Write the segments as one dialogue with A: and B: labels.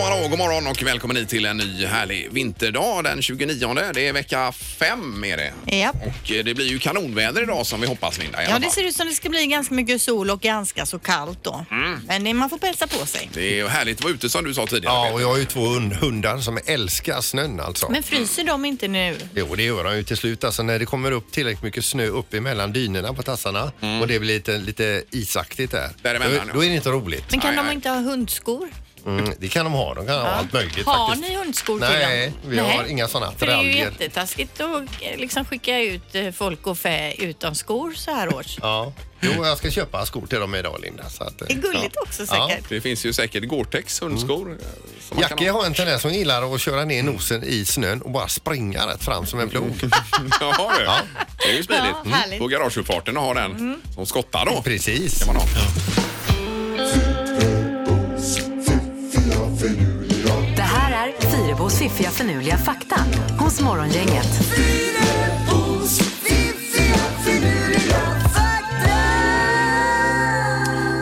A: morgon och välkommen hit till en ny härlig vinterdag den 29. Det är vecka 5 är det.
B: Ja.
A: Och eh, det blir ju kanonväder idag som vi hoppas Linda. I
B: ja,
A: alla
B: det
A: fall.
B: ser ut som det ska bli ganska mycket sol och ganska så kallt då.
C: Mm.
B: Men det, man får pälsa på sig.
A: det är ju härligt att vara ute som du sa tidigare.
C: Ja,
A: Peter.
C: och jag har ju två hund- hundar som älskar snön alltså.
B: Men fryser de inte nu?
C: Jo, det gör de ju till slut. Alltså när det kommer upp tillräckligt mycket snö upp emellan dynorna på tassarna och det blir lite, lite isaktigt där.
A: Mm. Däremellan, ja.
C: då, då är det inte roligt.
B: Men kan
A: Nej,
B: de
A: nej.
B: inte ha hundskor?
C: Mm, det kan de ha. De kan ha allt möjligt
B: har
C: faktiskt.
B: ni hundskor till
C: Nej,
B: dem?
C: vi har inga sådana
B: För det är ju
C: attiraljer.
B: jättetaskigt att eh, liksom skicka ut eh, folk och fä utan skor så här års.
C: Ja. Jo, jag ska köpa skor till dem idag Linda. Så att, eh,
B: Det är gulligt också
C: Ja.
B: säkert.
A: Det finns ju säkert Gore-Tex hundskor. eh, som man kan
C: Jackie har en tendens som gillar att köra ner nosen i snön och bara springa rätt fram som en plog.
A: Jaha, du. Det är ju smidigt. Mm.
B: Ja, härligt. Mm.
A: På garageuppfarten och ha den som skottar då.
C: Precis.
A: Kan man ha.
D: Det här är Fyrabos fiffiga förnuliga fakta hos Morgongänget.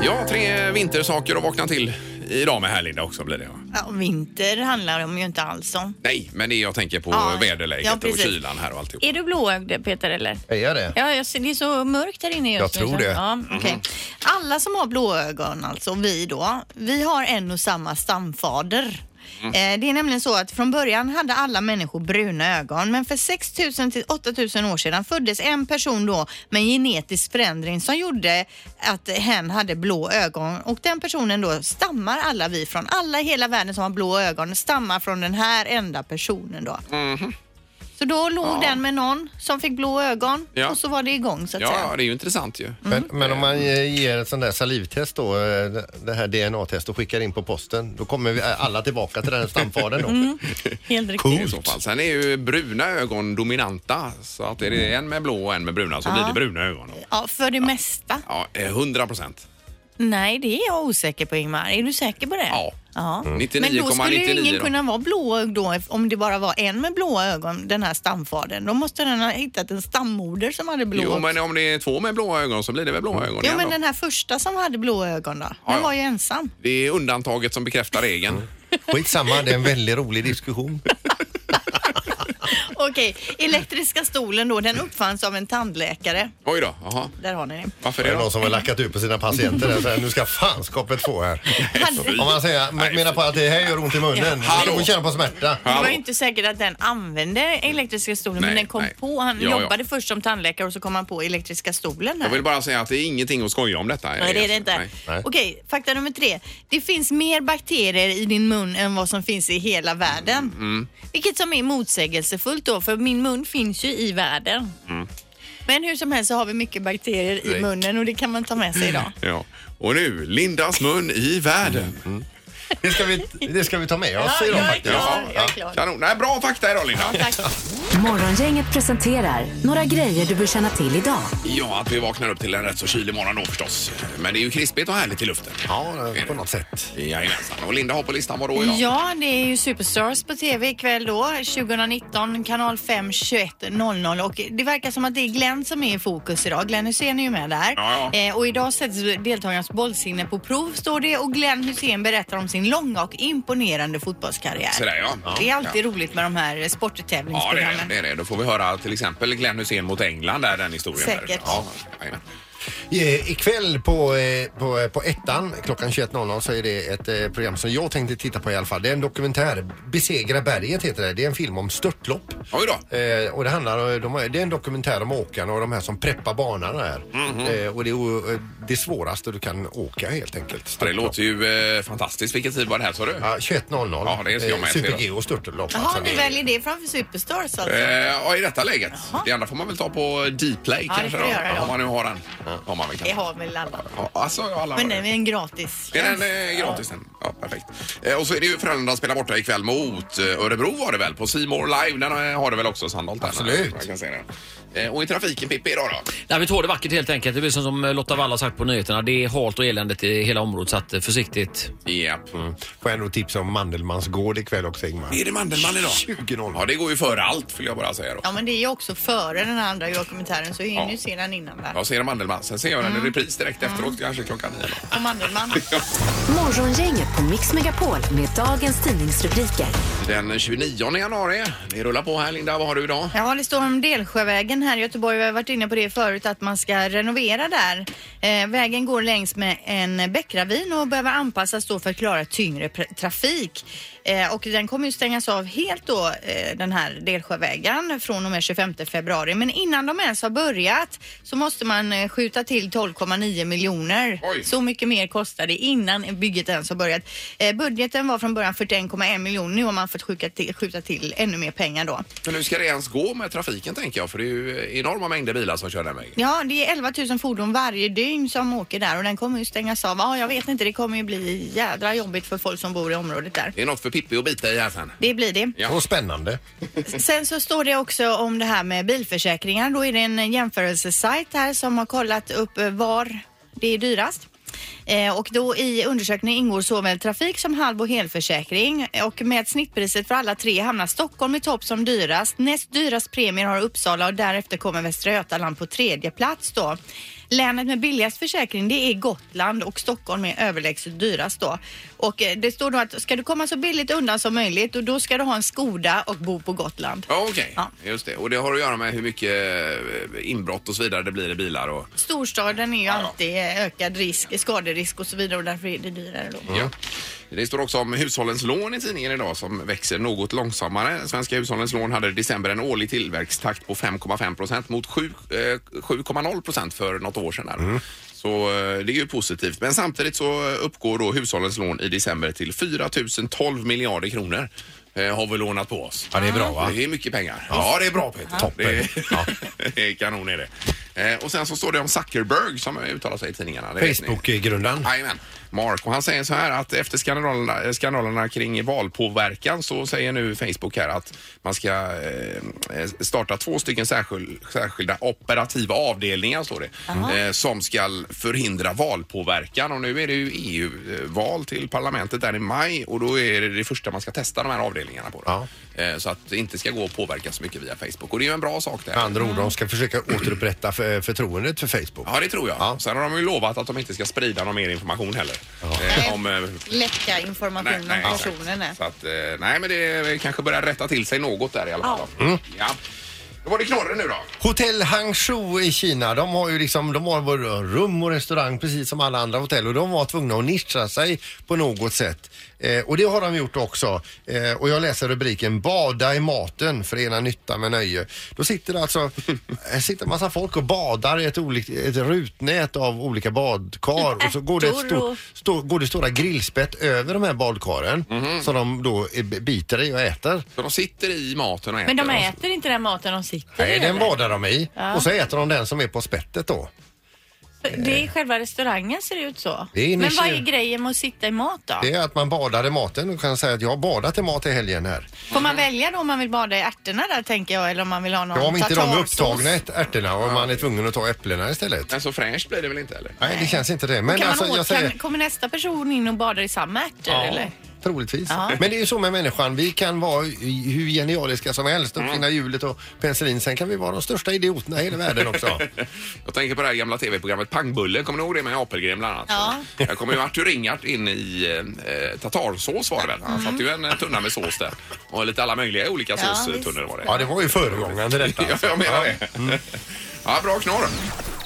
A: Ja, tre vintersaker att vakna till idag med här Linda också blir det. ja.
B: Ja, vinter handlar de ju inte alls om.
A: Nej, men det är jag tänker på
B: Ja,
A: väderläget
B: ja,
A: och
B: precis.
A: kylan här och alltihop.
B: Är du blåögd Peter eller?
C: Jag gör det.
B: Ja, jag ser, det är så mörkt här inne just
C: Jag tror
B: nu. så-
C: det.
B: Ja, okej. Alla som har blåögon, alltså vi då, vi har en och samma stamfader. Eh, Det är nämligen så att från början hade alla människor bruna ögon men för 6 000 till 8 000 år sedan föddes en person då med en genetisk förändring som gjorde att hen hade blå ögon och den personen då stammar alla vi från. Alla i hela världen som har blå ögon stammar från den här enda personen då. Så då låg den med någon som fick blå ögon
A: Ja.
B: och så var det igång så att
A: Ja,
B: säga.
A: det är ju intressant ju.
B: Mm.
C: Men, men om man eh, ger ett sånt där salivtest då, eh, det här DNA-test och skickar in på posten, då kommer vi eh, alla tillbaka till den här stamfadern då.
B: Mm.
C: Mm.
B: Helt riktigt.
A: I så fall. Sen är ju bruna ögon dominanta. Så att är det
B: Mm.
A: en med blå och en med bruna så blir det bruna ögon. då.
B: Ja, för det mesta.
A: Ja, eh, 100 procent.
B: Nej, det är jag osäker på Ingmar. Är du säker på det?
A: Ja. Mm.
B: ja. Men då skulle ju
A: 99,99
B: ingen
A: då.
B: kunna vara blåögd då om det bara var en med blåa ögon, den här stamfadern. Då måste den ha hittat en stammoder som hade blå
A: Jo,
B: också.
A: men om det är två med blå ögon så blir det väl blå ögon
B: Mm. Jo,
A: igen
B: men
A: då.
B: den här första som hade blå ögon då,
A: Ja, ja.
B: den var ju ensam.
A: Det är undantaget som bekräftar
B: Mm.
A: regeln.
C: Skitsamma, det är en väldigt rolig diskussion.
B: Okej, elektriska stolen då, den uppfanns av en tandläkare.
A: Oj då, jaha.
B: Där har ni den.
A: Varför
C: Det
A: det
C: är
A: då?
C: någon som har lackat ut på sina patienter där, så här, nu ska fanskapet få här.
B: Hade-
C: Om man säger, men- menar på att det här gör ont i munnen,
A: Ja.
C: då får känna på smärta.
B: Det var
A: Hallå.
B: ju inte säkert att den använde elektriska stolen,
A: Nej,
B: men den kom
A: nej.
B: på. Han
A: Ja, ja.
B: jobbade först som tandläkare och så kom han på elektriska stolen. Här.
A: Jag vill bara säga att det är ingenting att skoja om detta.
B: Nej, det är det inte.
A: Nej.
C: Nej.
B: Okej, fakta nummer tre. Det finns mer bakterier i din mun än vad som finns i hela världen.
A: Mm,
B: Vilket som är motsägelsefullt då, för min mun finns ju i världen.
A: Mm.
B: Men hur som helst så har vi mycket bakterier i
A: Nej.
B: munnen och det kan man ta med sig idag.
A: Ja. Och nu, Lindas mun i
B: Mm,
A: världen.
C: Det ska vi, det ska vi ta med oss
B: Ja,
C: idag
B: jag är
C: faktiskt.
B: klar. Ja, jag är klar.
A: Kanon. Nej, bra fakta idag Linda.
B: Tack.
D: Morgongänget presenterar några grejer du bör känna till idag.
A: Ja, att vi vaknar upp till en rätt så kylig morgon då förstås. Men det är ju krispigt och härligt i luften.
C: Ja, på något sätt.
A: Jajamensan. Och Linda har på listan vad då idag?
B: Ja, det är ju Superstars på tv ikväll då, 2019, kanal 5, 21.00 och det verkar som att det är Glenn som är i fokus idag. Glenn Hussein är ju med där.
A: Ja, ja.
B: Eh, och idag sätts deltagarnas bollsinne på prov står det och Glenn Hussein berättar om sin långa och imponerande fotbollskarriär.
A: Sådär, ja. Ja.
B: Det är alltid
A: Ja.
B: roligt med de här eh,
A: Ja, det
B: sporttävlingsprogrammen.
A: är det, det är det. Då får vi höra till exempel Glenn Hussein mot England där, den historien. Där.
B: Säkert.
A: Ja, jajamän.
C: Eh, Ikväll på, eh, på, eh, på ettan klockan 21.00 så är det ett eh, program som jag tänkte titta på i alla fall. Det är en dokumentär. Besegra berget heter det. Det är en film om störtlopp.
A: Oj då.
C: Eh, och det, handlar, de, det är en dokumentär om åkarna och de här som preppar banan här.
A: Mhm.
C: eh, och det är o- det svåraste du kan åka helt enkelt.
A: Det låter ju eh, fantastiskt. Vilken tid var det här sa du?
C: Ja, 21.00.
A: Ja, det ska jag med till då.
C: Super-G Eh, och störtlopp.
B: Jaha,
C: alltså, det
B: du
C: är-
B: väljer det framför Superstars alltså?
A: Eh, Ja, i detta läget. Det andra får man väl ta på Dplay
B: Ja, det
A: kanske
B: får
A: då.
B: vi göra då.
A: Om man nu har den. Har man väl
B: Det
A: kanske.
B: har väl alla.
A: Ja, alltså, ja, alla har
B: Men
A: det.
B: den är en gratis.
A: Det är den eh, gratis den. Ja, perfekt. Eh, och så är det ju Frölunda spelar borta ikväll mot eh, Örebro var det väl? På Simor Live. Den eh, har det väl också Sandholt? där,
C: Absolut.
A: Jag kan se det. Eh, och i trafiken Pippi idag då?
E: Nej, vi tar det vackert helt enkelt. Det blir som Lotta Wall har sagt på nyheterna. Det är halt och eländigt i hela området så att eh, försiktigt.
A: Japp.
C: Får jag ändå tipsa om Mandelmans gård ikväll också Ingmar.
A: Är det Mandelmann idag?
C: 20.00.
A: Ja, det går ju före allt vill jag bara säga då.
B: Ja, men det är ju också före den andra dokumentären så jag hinner
A: Ja.
B: ju se den innan där.
A: Jag ser Mandelmann. Sen ser jag den i repris direkt efteråt, kanske klockan nio. då.
B: Och Mandelmann.
D: Morgongänget på Mix Megapol med dagens tidningsrubriker.
A: Den 29 januari. Det rullar på här Linda. Vad har du idag?
B: Ja, det står om Delsjövägen här i Göteborg. Vi har varit inne på det förut att man ska renovera där. Eh, vägen går längs med en bäckravin och behöver anpassas då för att klara tyngre pr- trafik. Eh, och den kommer ju stängas av helt då, eh, den här Delsjövägen från och med 25 februari. Men innan de ens har börjat så måste man eh, skjuta till 12,9 miljoner.
A: Oj.
B: Så mycket mer kostar det innan bygget ens har börjat. Eh, budgeten var från början 41,1 miljoner. Nu har man fått skjuta till, skjuta till ännu mer pengar då.
A: Men hur ska det ens gå med trafiken tänker jag? För det är ju enorma mängder bilar som kör den vägen.
B: Ja, det är 11 000 fordon varje dygn som åker där och den kommer ju stängas av. Ja, jag vet inte, det kommer ju bli jädra jobbigt för folk som bor i området där.
A: Det är något för Pippi att bita i här sen.
B: Det blir det.
A: Ja.
C: Och spännande.
B: Sen så står det också om det här med bilförsäkringar. Då är det en jämförelsesajt här som har kollat upp eh, var det är dyrast. Eh, och då i undersökningen ingår såväl trafik som halv och helförsäkring och med snittpriset för alla tre hamnar Stockholm i topp som dyrast. Näst dyrast premier har Uppsala och därefter kommer Västra Götaland på tredje plats då. Länet med billigast försäkring det är Gotland och Stockholm är överlägset dyrast då. Och eh, det står då att ska du komma så billigt undan som möjligt och då ska du ha en Skoda och bo på Gotland.
A: Ja, okej.
B: Ja.
A: Just det. Och det har att göra med hur mycket eh, inbrott och så vidare det blir i bilar och...
B: Storstaden är ju
A: Ja, ja.
B: alltid eh, ökad risk, skaderisk och så vidare och därför är det dyrare då.
A: Ja. Det står också om hushållens lån i tidningen idag som växer något långsammare. Svenska hushållens lån hade i december en årlig tillväxttakt på 5,5 procent mot sju- eh, 7,0 procent för något år sedan. Där.
C: Mm.
A: Så eh, det är ju positivt. Men samtidigt så uppgår då hushållens lån i december till 4 012 miljarder kronor. eh, Har vi lånat på oss.
C: Ja, det är bra, va?
A: Det är mycket pengar. Ja, det är bra Peter.
C: Toppen.
A: Det är, det är kanon är det. Eh, Och sen så står det om Zuckerberg som uttalar sig i tidningarna. Det vet ni.
C: Facebook-grundaren.
A: Jajamän. Mark, och han säger så här att efter skandalerna, eh, skandalerna kring valpåverkan så säger nu Facebook här att man ska eh, eh, starta två stycken särskil, särskilda operativa avdelningar står det, eh, som ska förhindra valpåverkan och nu är det ju EU-val till parlamentet där i maj och då är det det första man ska testa de här avdelningarna på. Då. Eh, så att det inte ska gå att påverka så mycket via Facebook och det är ju en bra sak det.
C: Med andra ord, de ska försöka återupprätta för, förtroendet för Facebook.
A: Ja, det tror jag.
C: Ja.
A: Sen har de ju lovat att de inte ska sprida någon mer information heller.
B: Nej.
A: Eh, om eh,
B: Läcka information om
A: exakt.
B: personen. är.
A: Så att, eh, nej, men det kanske börjar rätta till sig något där i alla fall. Mm. Ja. Då var det knorren nu då.
C: Hotell Hangzhou i Kina, de har ju liksom, de har både rum och restaurang precis som alla andra hotell och de var tvungna att nischa sig på något sätt. Eh, och det har de gjort också. Eh, och jag läser rubriken Bada i maten, förena nytta med nöje. Då sitter det alltså, här sitter en massa folk och badar i ett, olikt, ett rutnät av olika badkar och så går det, ett
B: Ärtor
C: stort,
B: och-
C: stå, går det stora grillspett över de här badkaren som de då eh, biter i och äter.
A: Så de sitter i maten och äter.
B: Men de
A: och-
B: äter inte den maten de sitter
C: Nej,
B: i,
C: den
B: eller?
C: badar de i och så äter de den som är på spettet då.
B: Det är själva restaurangen ser det ut så.
C: Det är inne i
B: Men vad
C: kyl.
B: är grejen med att sitta i mat då?
C: Det är att man badar i maten och kan säga att jag har badat i mat i helgen här.
B: Får man välja då om man vill bada i ärtorna där tänker jag eller om man vill ha någon
C: Ja, om inte de är
B: tartarsås?
C: upptagna ärt- ärtorna och man är tvungen att ta äpplena istället.
A: Men så fräscht blir det väl inte eller?
C: Nej, det känns inte det. Men
B: Kan man
C: alltså,
B: åt,
C: jag säger
B: kan, kommer nästa person in och badar i samma ärtor eller?
C: troligtvis.
B: Ja.
C: Men det är ju så med människan. Vi kan vara i- hur genialiska som helst, uppfinna hjulet och penicillin. Sen kan vi vara de största idioterna i hela världen också.
A: Jag tänker på det här gamla tv-programmet Pangbulle. Kommer ni ihåg det med Apelgren bland annat?
B: Ja.
A: Där kommer ju Arthur Ringart in i eh, tatarsås var det väl? Han satte ju en eh, tunna med sås där. Och lite alla möjliga olika
B: Ja,
A: såstunnor var det.
C: Ja, det var ju föregångaren till
A: Ja,
C: detta.
A: Mm.
C: alltså.
A: jag menar det. Ja, bra knorr.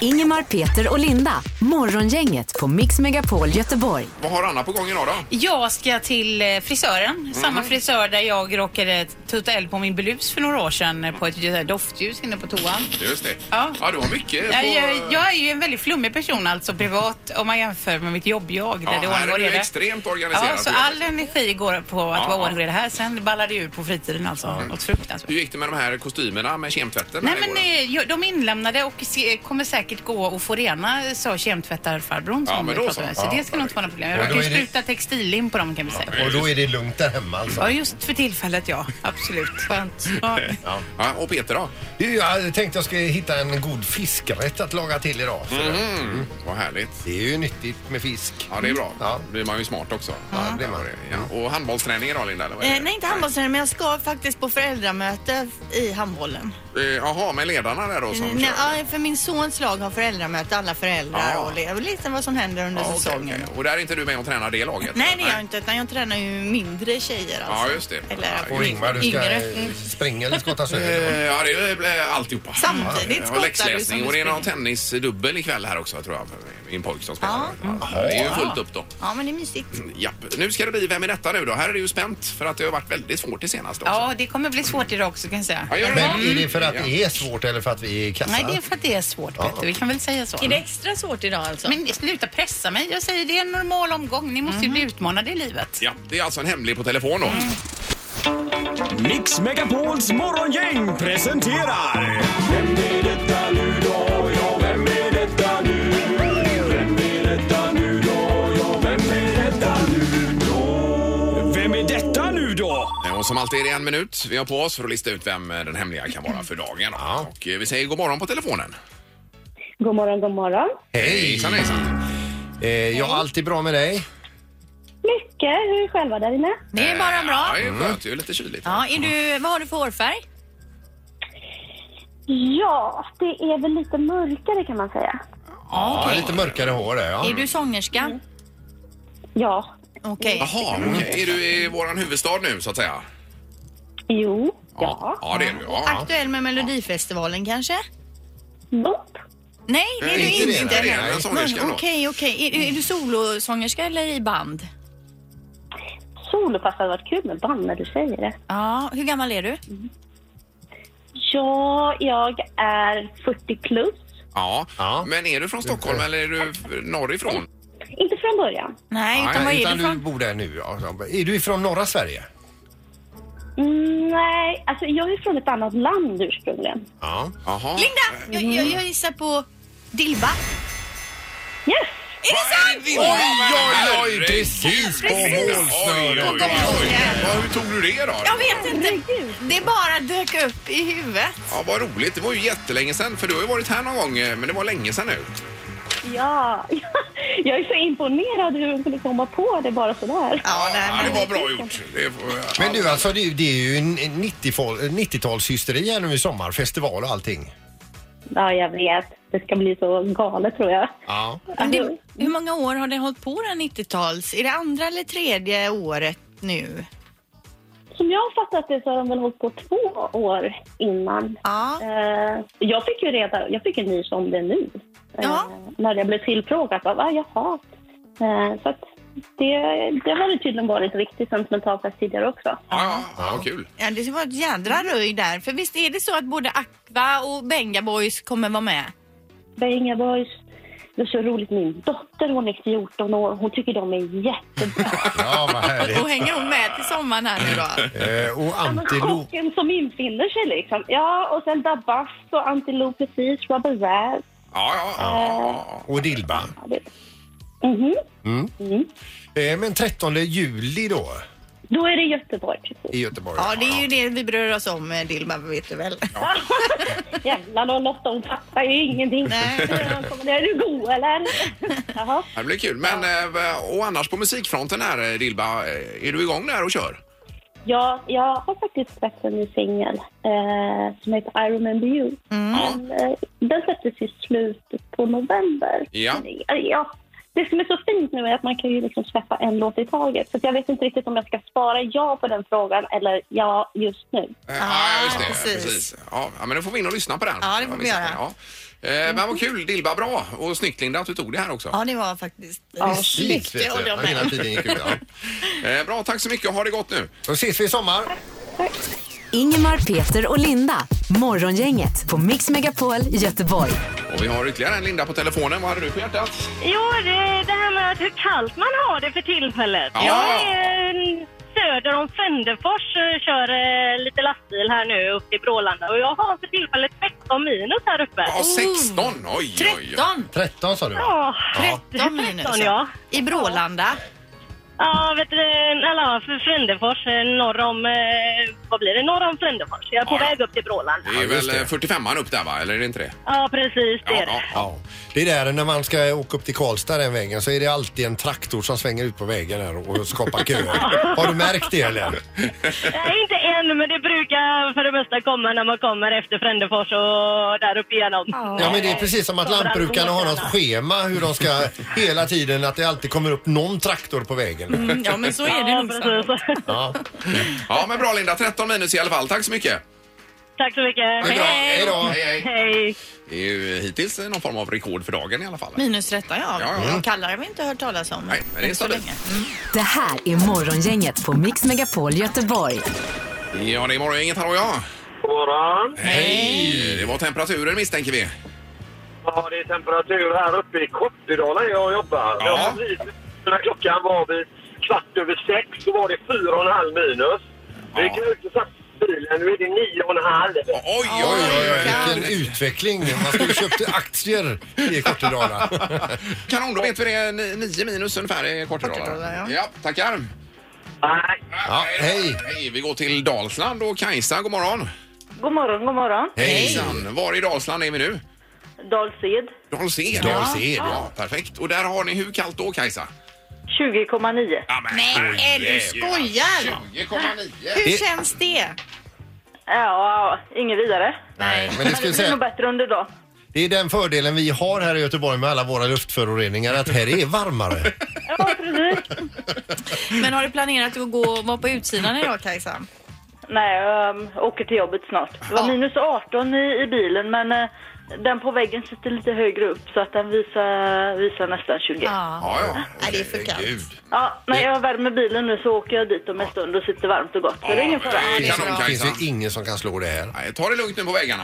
D: Ingemar, Peter och Linda. Morgongänget på Mix Megapol Göteborg.
A: Vad har Anna på gång idag då?
F: Jag ska till eh, frisören.
A: Mhm.
F: Samma frisör där jag råkade tuta eld på min blus för några år sedan eh, på ett eh, doftljus inne på toan.
A: Just det.
F: Ja.
A: du har mycket
F: Jag,
A: på...
F: jag, jag är ju en väldigt flummig person alltså privat om man jämför med mitt jobb-jag.
A: Ja,
F: där det
A: här
F: ordning
A: är
F: och
A: du
F: reda.
A: extremt organiserad.
F: Ja, så
A: du.
F: all energi går på att
A: Ja,
F: vara
A: ja.
F: ordning och reda här. Sen ballar det ur på fritiden alltså. Något fruktansvärt.
A: Hur gick det med de här kostymerna med kemtvätten?
F: Nej
A: här
F: men
A: igår?
F: eh, jag- de är inlämnade och se- kommer säkert gå och få rena sa kemtvättarfarbrorn
A: Ja,
F: som
A: men
F: vi
A: då
F: pratade med.
A: så.
F: Så
A: Ja,
F: det ska nog inte vara något problem.
C: Och
F: Jag
C: då
F: kan ju
C: är det-
F: spruta textillim på dem kan vi säga.
C: Och då är det lugnt där hemma alltså.
F: Ja, just för tillfället ja. Absolut. Skönt.
B: Eh,
F: Ja.
A: ja, och Peter då?
C: Du, jag tänkte jag skulle hitta en god fiskrätt att laga till idag. För
A: Mm, vad härligt.
C: Det är ju nyttigt med fisk.
A: Ja, det är bra.
C: Ja.
A: Då blir man ju smart också.
C: Ja, det blir man.
A: Ja. Och handbollsträning idag, Linda? Eller vad är det?
B: Eh, nej, inte handbollsträning, men jag ska faktiskt på föräldramöte i handbollen.
A: Eh, Jaha, med ledarna där då som
B: Mm, Nej,
A: kör?
B: ja, för min sons lag har föräldramöte, alla föräldrar
A: Ja.
B: och det är lite vad som händer under
A: Ja, okej,
B: säsongen.
A: okej. Och där är inte du med och tränar det laget?
B: Nej, det gör jag inte. Utan jag tränar ju mindre tjejer. Alltså.
A: Ja, just det.
B: Eller,
A: Ja,
C: Och Ingmar, du ska
B: Yngre.
C: eh,
B: Mm.
C: springa eller skotta sönder.
A: Eh, Ja, det är väl eh, alltihopa.
B: Samtidigt
A: Ja,
B: skottar du som
A: läxläsning
B: du
A: och det är någon
B: springer.
A: tennisdubbel ikväll här också tror jag. Min pojk som spelar. Ja, det är ju fullt upp då.
B: Ja, men det är mysigt.
A: Japp. Nu ska det bli Vem är detta nu då? Här är det ju spänt för att det har varit väldigt svårt det senaste också.
F: Ja, det kommer bli svårt idag också kan jag säga.
A: Ja, gör det.
C: Men är det för att det är svårt eller för att vi är i
F: Nej, det
C: kassan?
F: är för att det är svårt Peter. Vi kan väl säga så.
G: Är det extra svårt idag alltså?
F: Men sluta pressa mig. Jag säger det är en normal omgång. Ni måste ju
G: Mhm.
F: bli utmanade i livet.
A: Ja, det är alltså en hemlig på telefon då.
H: Mix Megapols morgongäng presenterar... Vem är detta nu då? Ja, vem är detta nu? Vem är detta nu då? Ja, vem är detta nu då? Vem är detta nu då?
A: Eh, Och som alltid är det en minut vi har på oss för att lista ut vem eh, den hemliga kan vara för dagen. Och eh, vi säger god morgon på telefonen.
I: God morgon, god morgon.
C: Hej!
A: Hejsan hejsan.
C: Eh, ja, allt är bra med dig?
I: Mycket. Hur är själva där inne?
G: Det är bara
A: Ja,
G: bra.
A: det är skönt. Det är lite kyligt.
G: Ja, är du, vad har du för hårfärg?
I: Ja, det är väl lite mörkare kan man säga.
C: Ja, lite mörkare hår där, ja.
G: Är du
F: Mm.
G: sångerska?
I: Ja.
G: Okej.
A: Jaha, okej. Mm. Är du i våran huvudstad nu så att säga?
I: Jo. Ja.
A: Ja, det är du. Ja.
B: Aktuell med Melodifestivalen kanske?
I: Nopp.
G: Nej, det är du
C: inte det.
G: inte.
A: Där är den sångerskan
G: Men
A: då.
G: Okej, okej. Är, du- är du solosångerska eller i band?
I: Solopass hade varit kul med band när du säger det.
G: Ja, hur gammal är du?
I: Ja, jag är 40 plus.
A: Ja.
C: Ja.
A: men är du från Stockholm eller är du f- norrifrån?
I: Inte från början.
G: Nej,
A: Nej,
G: utan var är
C: Utan
G: du
C: du
G: från?
C: bor där nu, ja. Är du ifrån norra Sverige?
I: Mm, nej, alltså jag är från ett annat land ursprungligen.
C: Ja.
A: Jaha.
B: Linda! Jag, jag, jag gissar på Dilba.
I: Yes!
A: Är det sant? Oj, oj, oj! Precis
C: på
A: Oj, oj, oj. Ja, Hur tog du det då?
B: Jag vet inte. Det bara dök upp i huvudet.
A: Ja, vad roligt. Det var ju jättelänge sedan, för du har ju varit här någon gång, eh, men det var länge sedan nu.
I: Ja, jag är så imponerad hur hon kunde komma på det bara sådär.
B: Ja, nej,
A: Ja,
B: men-
A: det var bra gjort. Det får-
C: Men du, alltså det, är ju- det är ju en 90-tal- 90-talshysteri här nu i sommar, festival och allting.
I: Ja, jag vet. Det ska bli så galet tror jag.
C: Ja.
G: Men
I: Alltså,
G: det, hur många år har det hållit på den 90-tals? Är det andra eller tredje året nu?
I: Som jag har fattat det så har de väl hållit på två år innan.
B: Ja.
I: Eh, jag fick ju reda, jag fick en nys om det nu. Eh,
B: Ja.
I: När jag blev tillfrågad. Bara, ah, jaha. Eh, så att det, det har det tydligen varit riktigt sentimentalt tidigare också.
A: Ja, ja, ja, kul.
B: Ja, det var ett jädra
A: Mm.
B: röj där. För visst är det så att både Aqua och Benga Boys kommer vara med?
I: Benga Boys. Det är så roligt. Min dotter hon är 14 år. Hon tycker de är jättebra.
C: Ja, vad härligt.
B: Och hänger hon med till sommaren här nu då?
C: Eh, och
I: Ja, men
C: antilop.
I: Chocken som infinner sig liksom. Ja, och sen Dabas och Antilop precis. Rubber Razz.
A: Ja, ja, ja.
C: Och Dilba.
I: Ja, det- Mhm.
C: Eh, Men 13 juli då
I: Då är det Göteborg typ. precis.
C: i Göteborg.
B: Ja, det är ju det vi bryr oss om, eh, Dilma, vet du väl?
I: Jävlar, då, Lotta hon fattar ju ingenting.
B: Nej.
I: Kommer det, är du god eller? Jaha.
A: Ja, Det blir kul. Men eh, och annars på musikfronten här, eh, Dilba, eh, är du igång där och kör?
I: Ja, jag har faktiskt släppt en ny singel eh, som heter I remember you. Men, eh, den släpptes i slutet på november.
A: Ja.
I: Men, ja. Det som är så fint nu är att man kan ju liksom släppa en låt i taget. Så att jag vet inte riktigt om jag ska svara ja på den frågan eller ja just nu.
A: Eh, Ja, just det.
B: precis.
A: Precis. Ja, ja, men då får vi in och lyssna på den.
B: Ja, det får vi
A: missat
B: göra.
A: den, ja. Eh, Men vad kul, Dilba, bra. Och snyggt Linda att du tog det här också.
B: Ja, det var faktiskt
I: Ja.
C: Musik, vet
B: och
C: du.
B: de
C: Ja, Hela tiden gick ut. Ja.
A: Eh, Bra, tack så mycket och ha det gott nu.
C: Då ses vi i sommar.
D: Ingemar, Peter och Linda. Morgongänget på Mix Megapol Göteborg.
A: Och vi har ytterligare en Linda på telefonen. Vad hade du på hjärtat?
I: Jo, det, det här med hur kallt man har det för tillfället.
A: Ja.
I: Jag är eh, söder om Fänderfors och kör eh, lite lastbil här nu upp till Brålanda. Och jag har för tillfället 13 minus här uppe.
A: Ja, 16. Oj, oj, oj.
B: 13,
C: 13 sa du va?
I: Ja,
B: 13 minus.
I: 13 ja.
B: I Brålanda.
I: Ja, vet du, eller ja, för Frändefors, eh, norr om, eh, vad blir det, norr om Frändefors. Jag är på
A: Ja, ja.
I: väg upp till Brålanda.
A: Det är
C: Ja, just
A: väl eh,
C: det.
A: 45an upp där, va? Eller är det inte det?
I: Ja, precis, det är det.
C: Ja. Det är där när man ska åka upp till Karlstad den vägen så är det alltid en traktor som svänger ut på vägen här och skapar köer. Har du märkt det eller?
I: Nej, inte
J: men, men det brukar för det mesta komma när man kommer efter Frändefors och där uppe igenom.
C: Ja men det är precis som att
J: Kommer
C: lantbrukarna har
J: alkohol.
C: något schema hur de ska hela tiden att det alltid kommer upp någon traktor på vägen.
G: Mm, ja, men så är det
J: Ja,
G: nog
J: precis.
G: sannolikt.
C: Ja.
A: Ja, men bra Linda. 13 minus i alla fall. Tack så mycket.
J: Tack så mycket.
A: Det är bra. Hej då. Hej, hej.
J: Hej.
A: Det är ju hittills någon form av rekord för dagen i alla fall.
B: Minus 13 ja.
A: Ja, ja.
B: De kallare har vi inte hört talas om.
A: Nej, men det är
B: Än så
A: stabilt.
B: länge. Mm.
D: Det här är Morgongänget på Mix Megapol Göteborg.
A: Ja, det är morgongänget. Hallå ja.
K: God morgon.
A: Hej! Det var temperaturen misstänker vi.
K: Ja, det är temperatur här uppe i Kortedala där jag jobbar.
A: Ja.
K: Jag har precis- När klockan var vid kvart över sex så var det fyra och en halv minus. Vi gick ut och satte bilen. Nu är det nio och en halv.
A: Oj,
C: oj, oj, oj. Vilken utveckling. Man skulle köpt aktier i Kortedala.
A: Kanon, då vet vi det. Ni- Nio minus ungefär i Kortedala. Ja. tackar.
K: Nej.
C: Ja, hej.
A: Hej, vi går till Dalsland och Kajsa, god morgon.
L: God morgon, god morgon.
A: Hejsan. Var i Dalsland är vi nu?
L: Dalsed,
A: Dalsed.
L: Ja.
A: Dalsed, ja.
L: Ja.
A: Perfekt. Och där har ni hur kallt då, Kajsa?
L: 20,9.
A: Nej,
B: Är du skojar?
A: 20,9.
B: Hur känns det?
L: Ja, inget vidare.
C: Nej, men det
L: det
C: skulle jag
L: blir
C: säga.
L: nog bättre under dagen.
C: Det är den fördelen vi har här i Göteborg med alla våra luftföroreningar att här är varmare.
G: Men har du planerat att gå och vara på utsidan idag Kajsa?
L: Nej, jag um, åker till jobbet snart. Det var minus 18 i, i bilen, men eh, den på väggen sitter lite högre upp så att den visar, visar nästan 20.
A: Ja, ja.
B: Nej, det är för kallt.
L: Ja, när jag värmer bilen nu så åker jag dit om en stund och sitter varmt och gott. Så det är ingen fara.
A: Kanon, Kajsa.
C: finns det ingen som kan slå det här.
A: Nej, ta det lugnt nu på väggarna.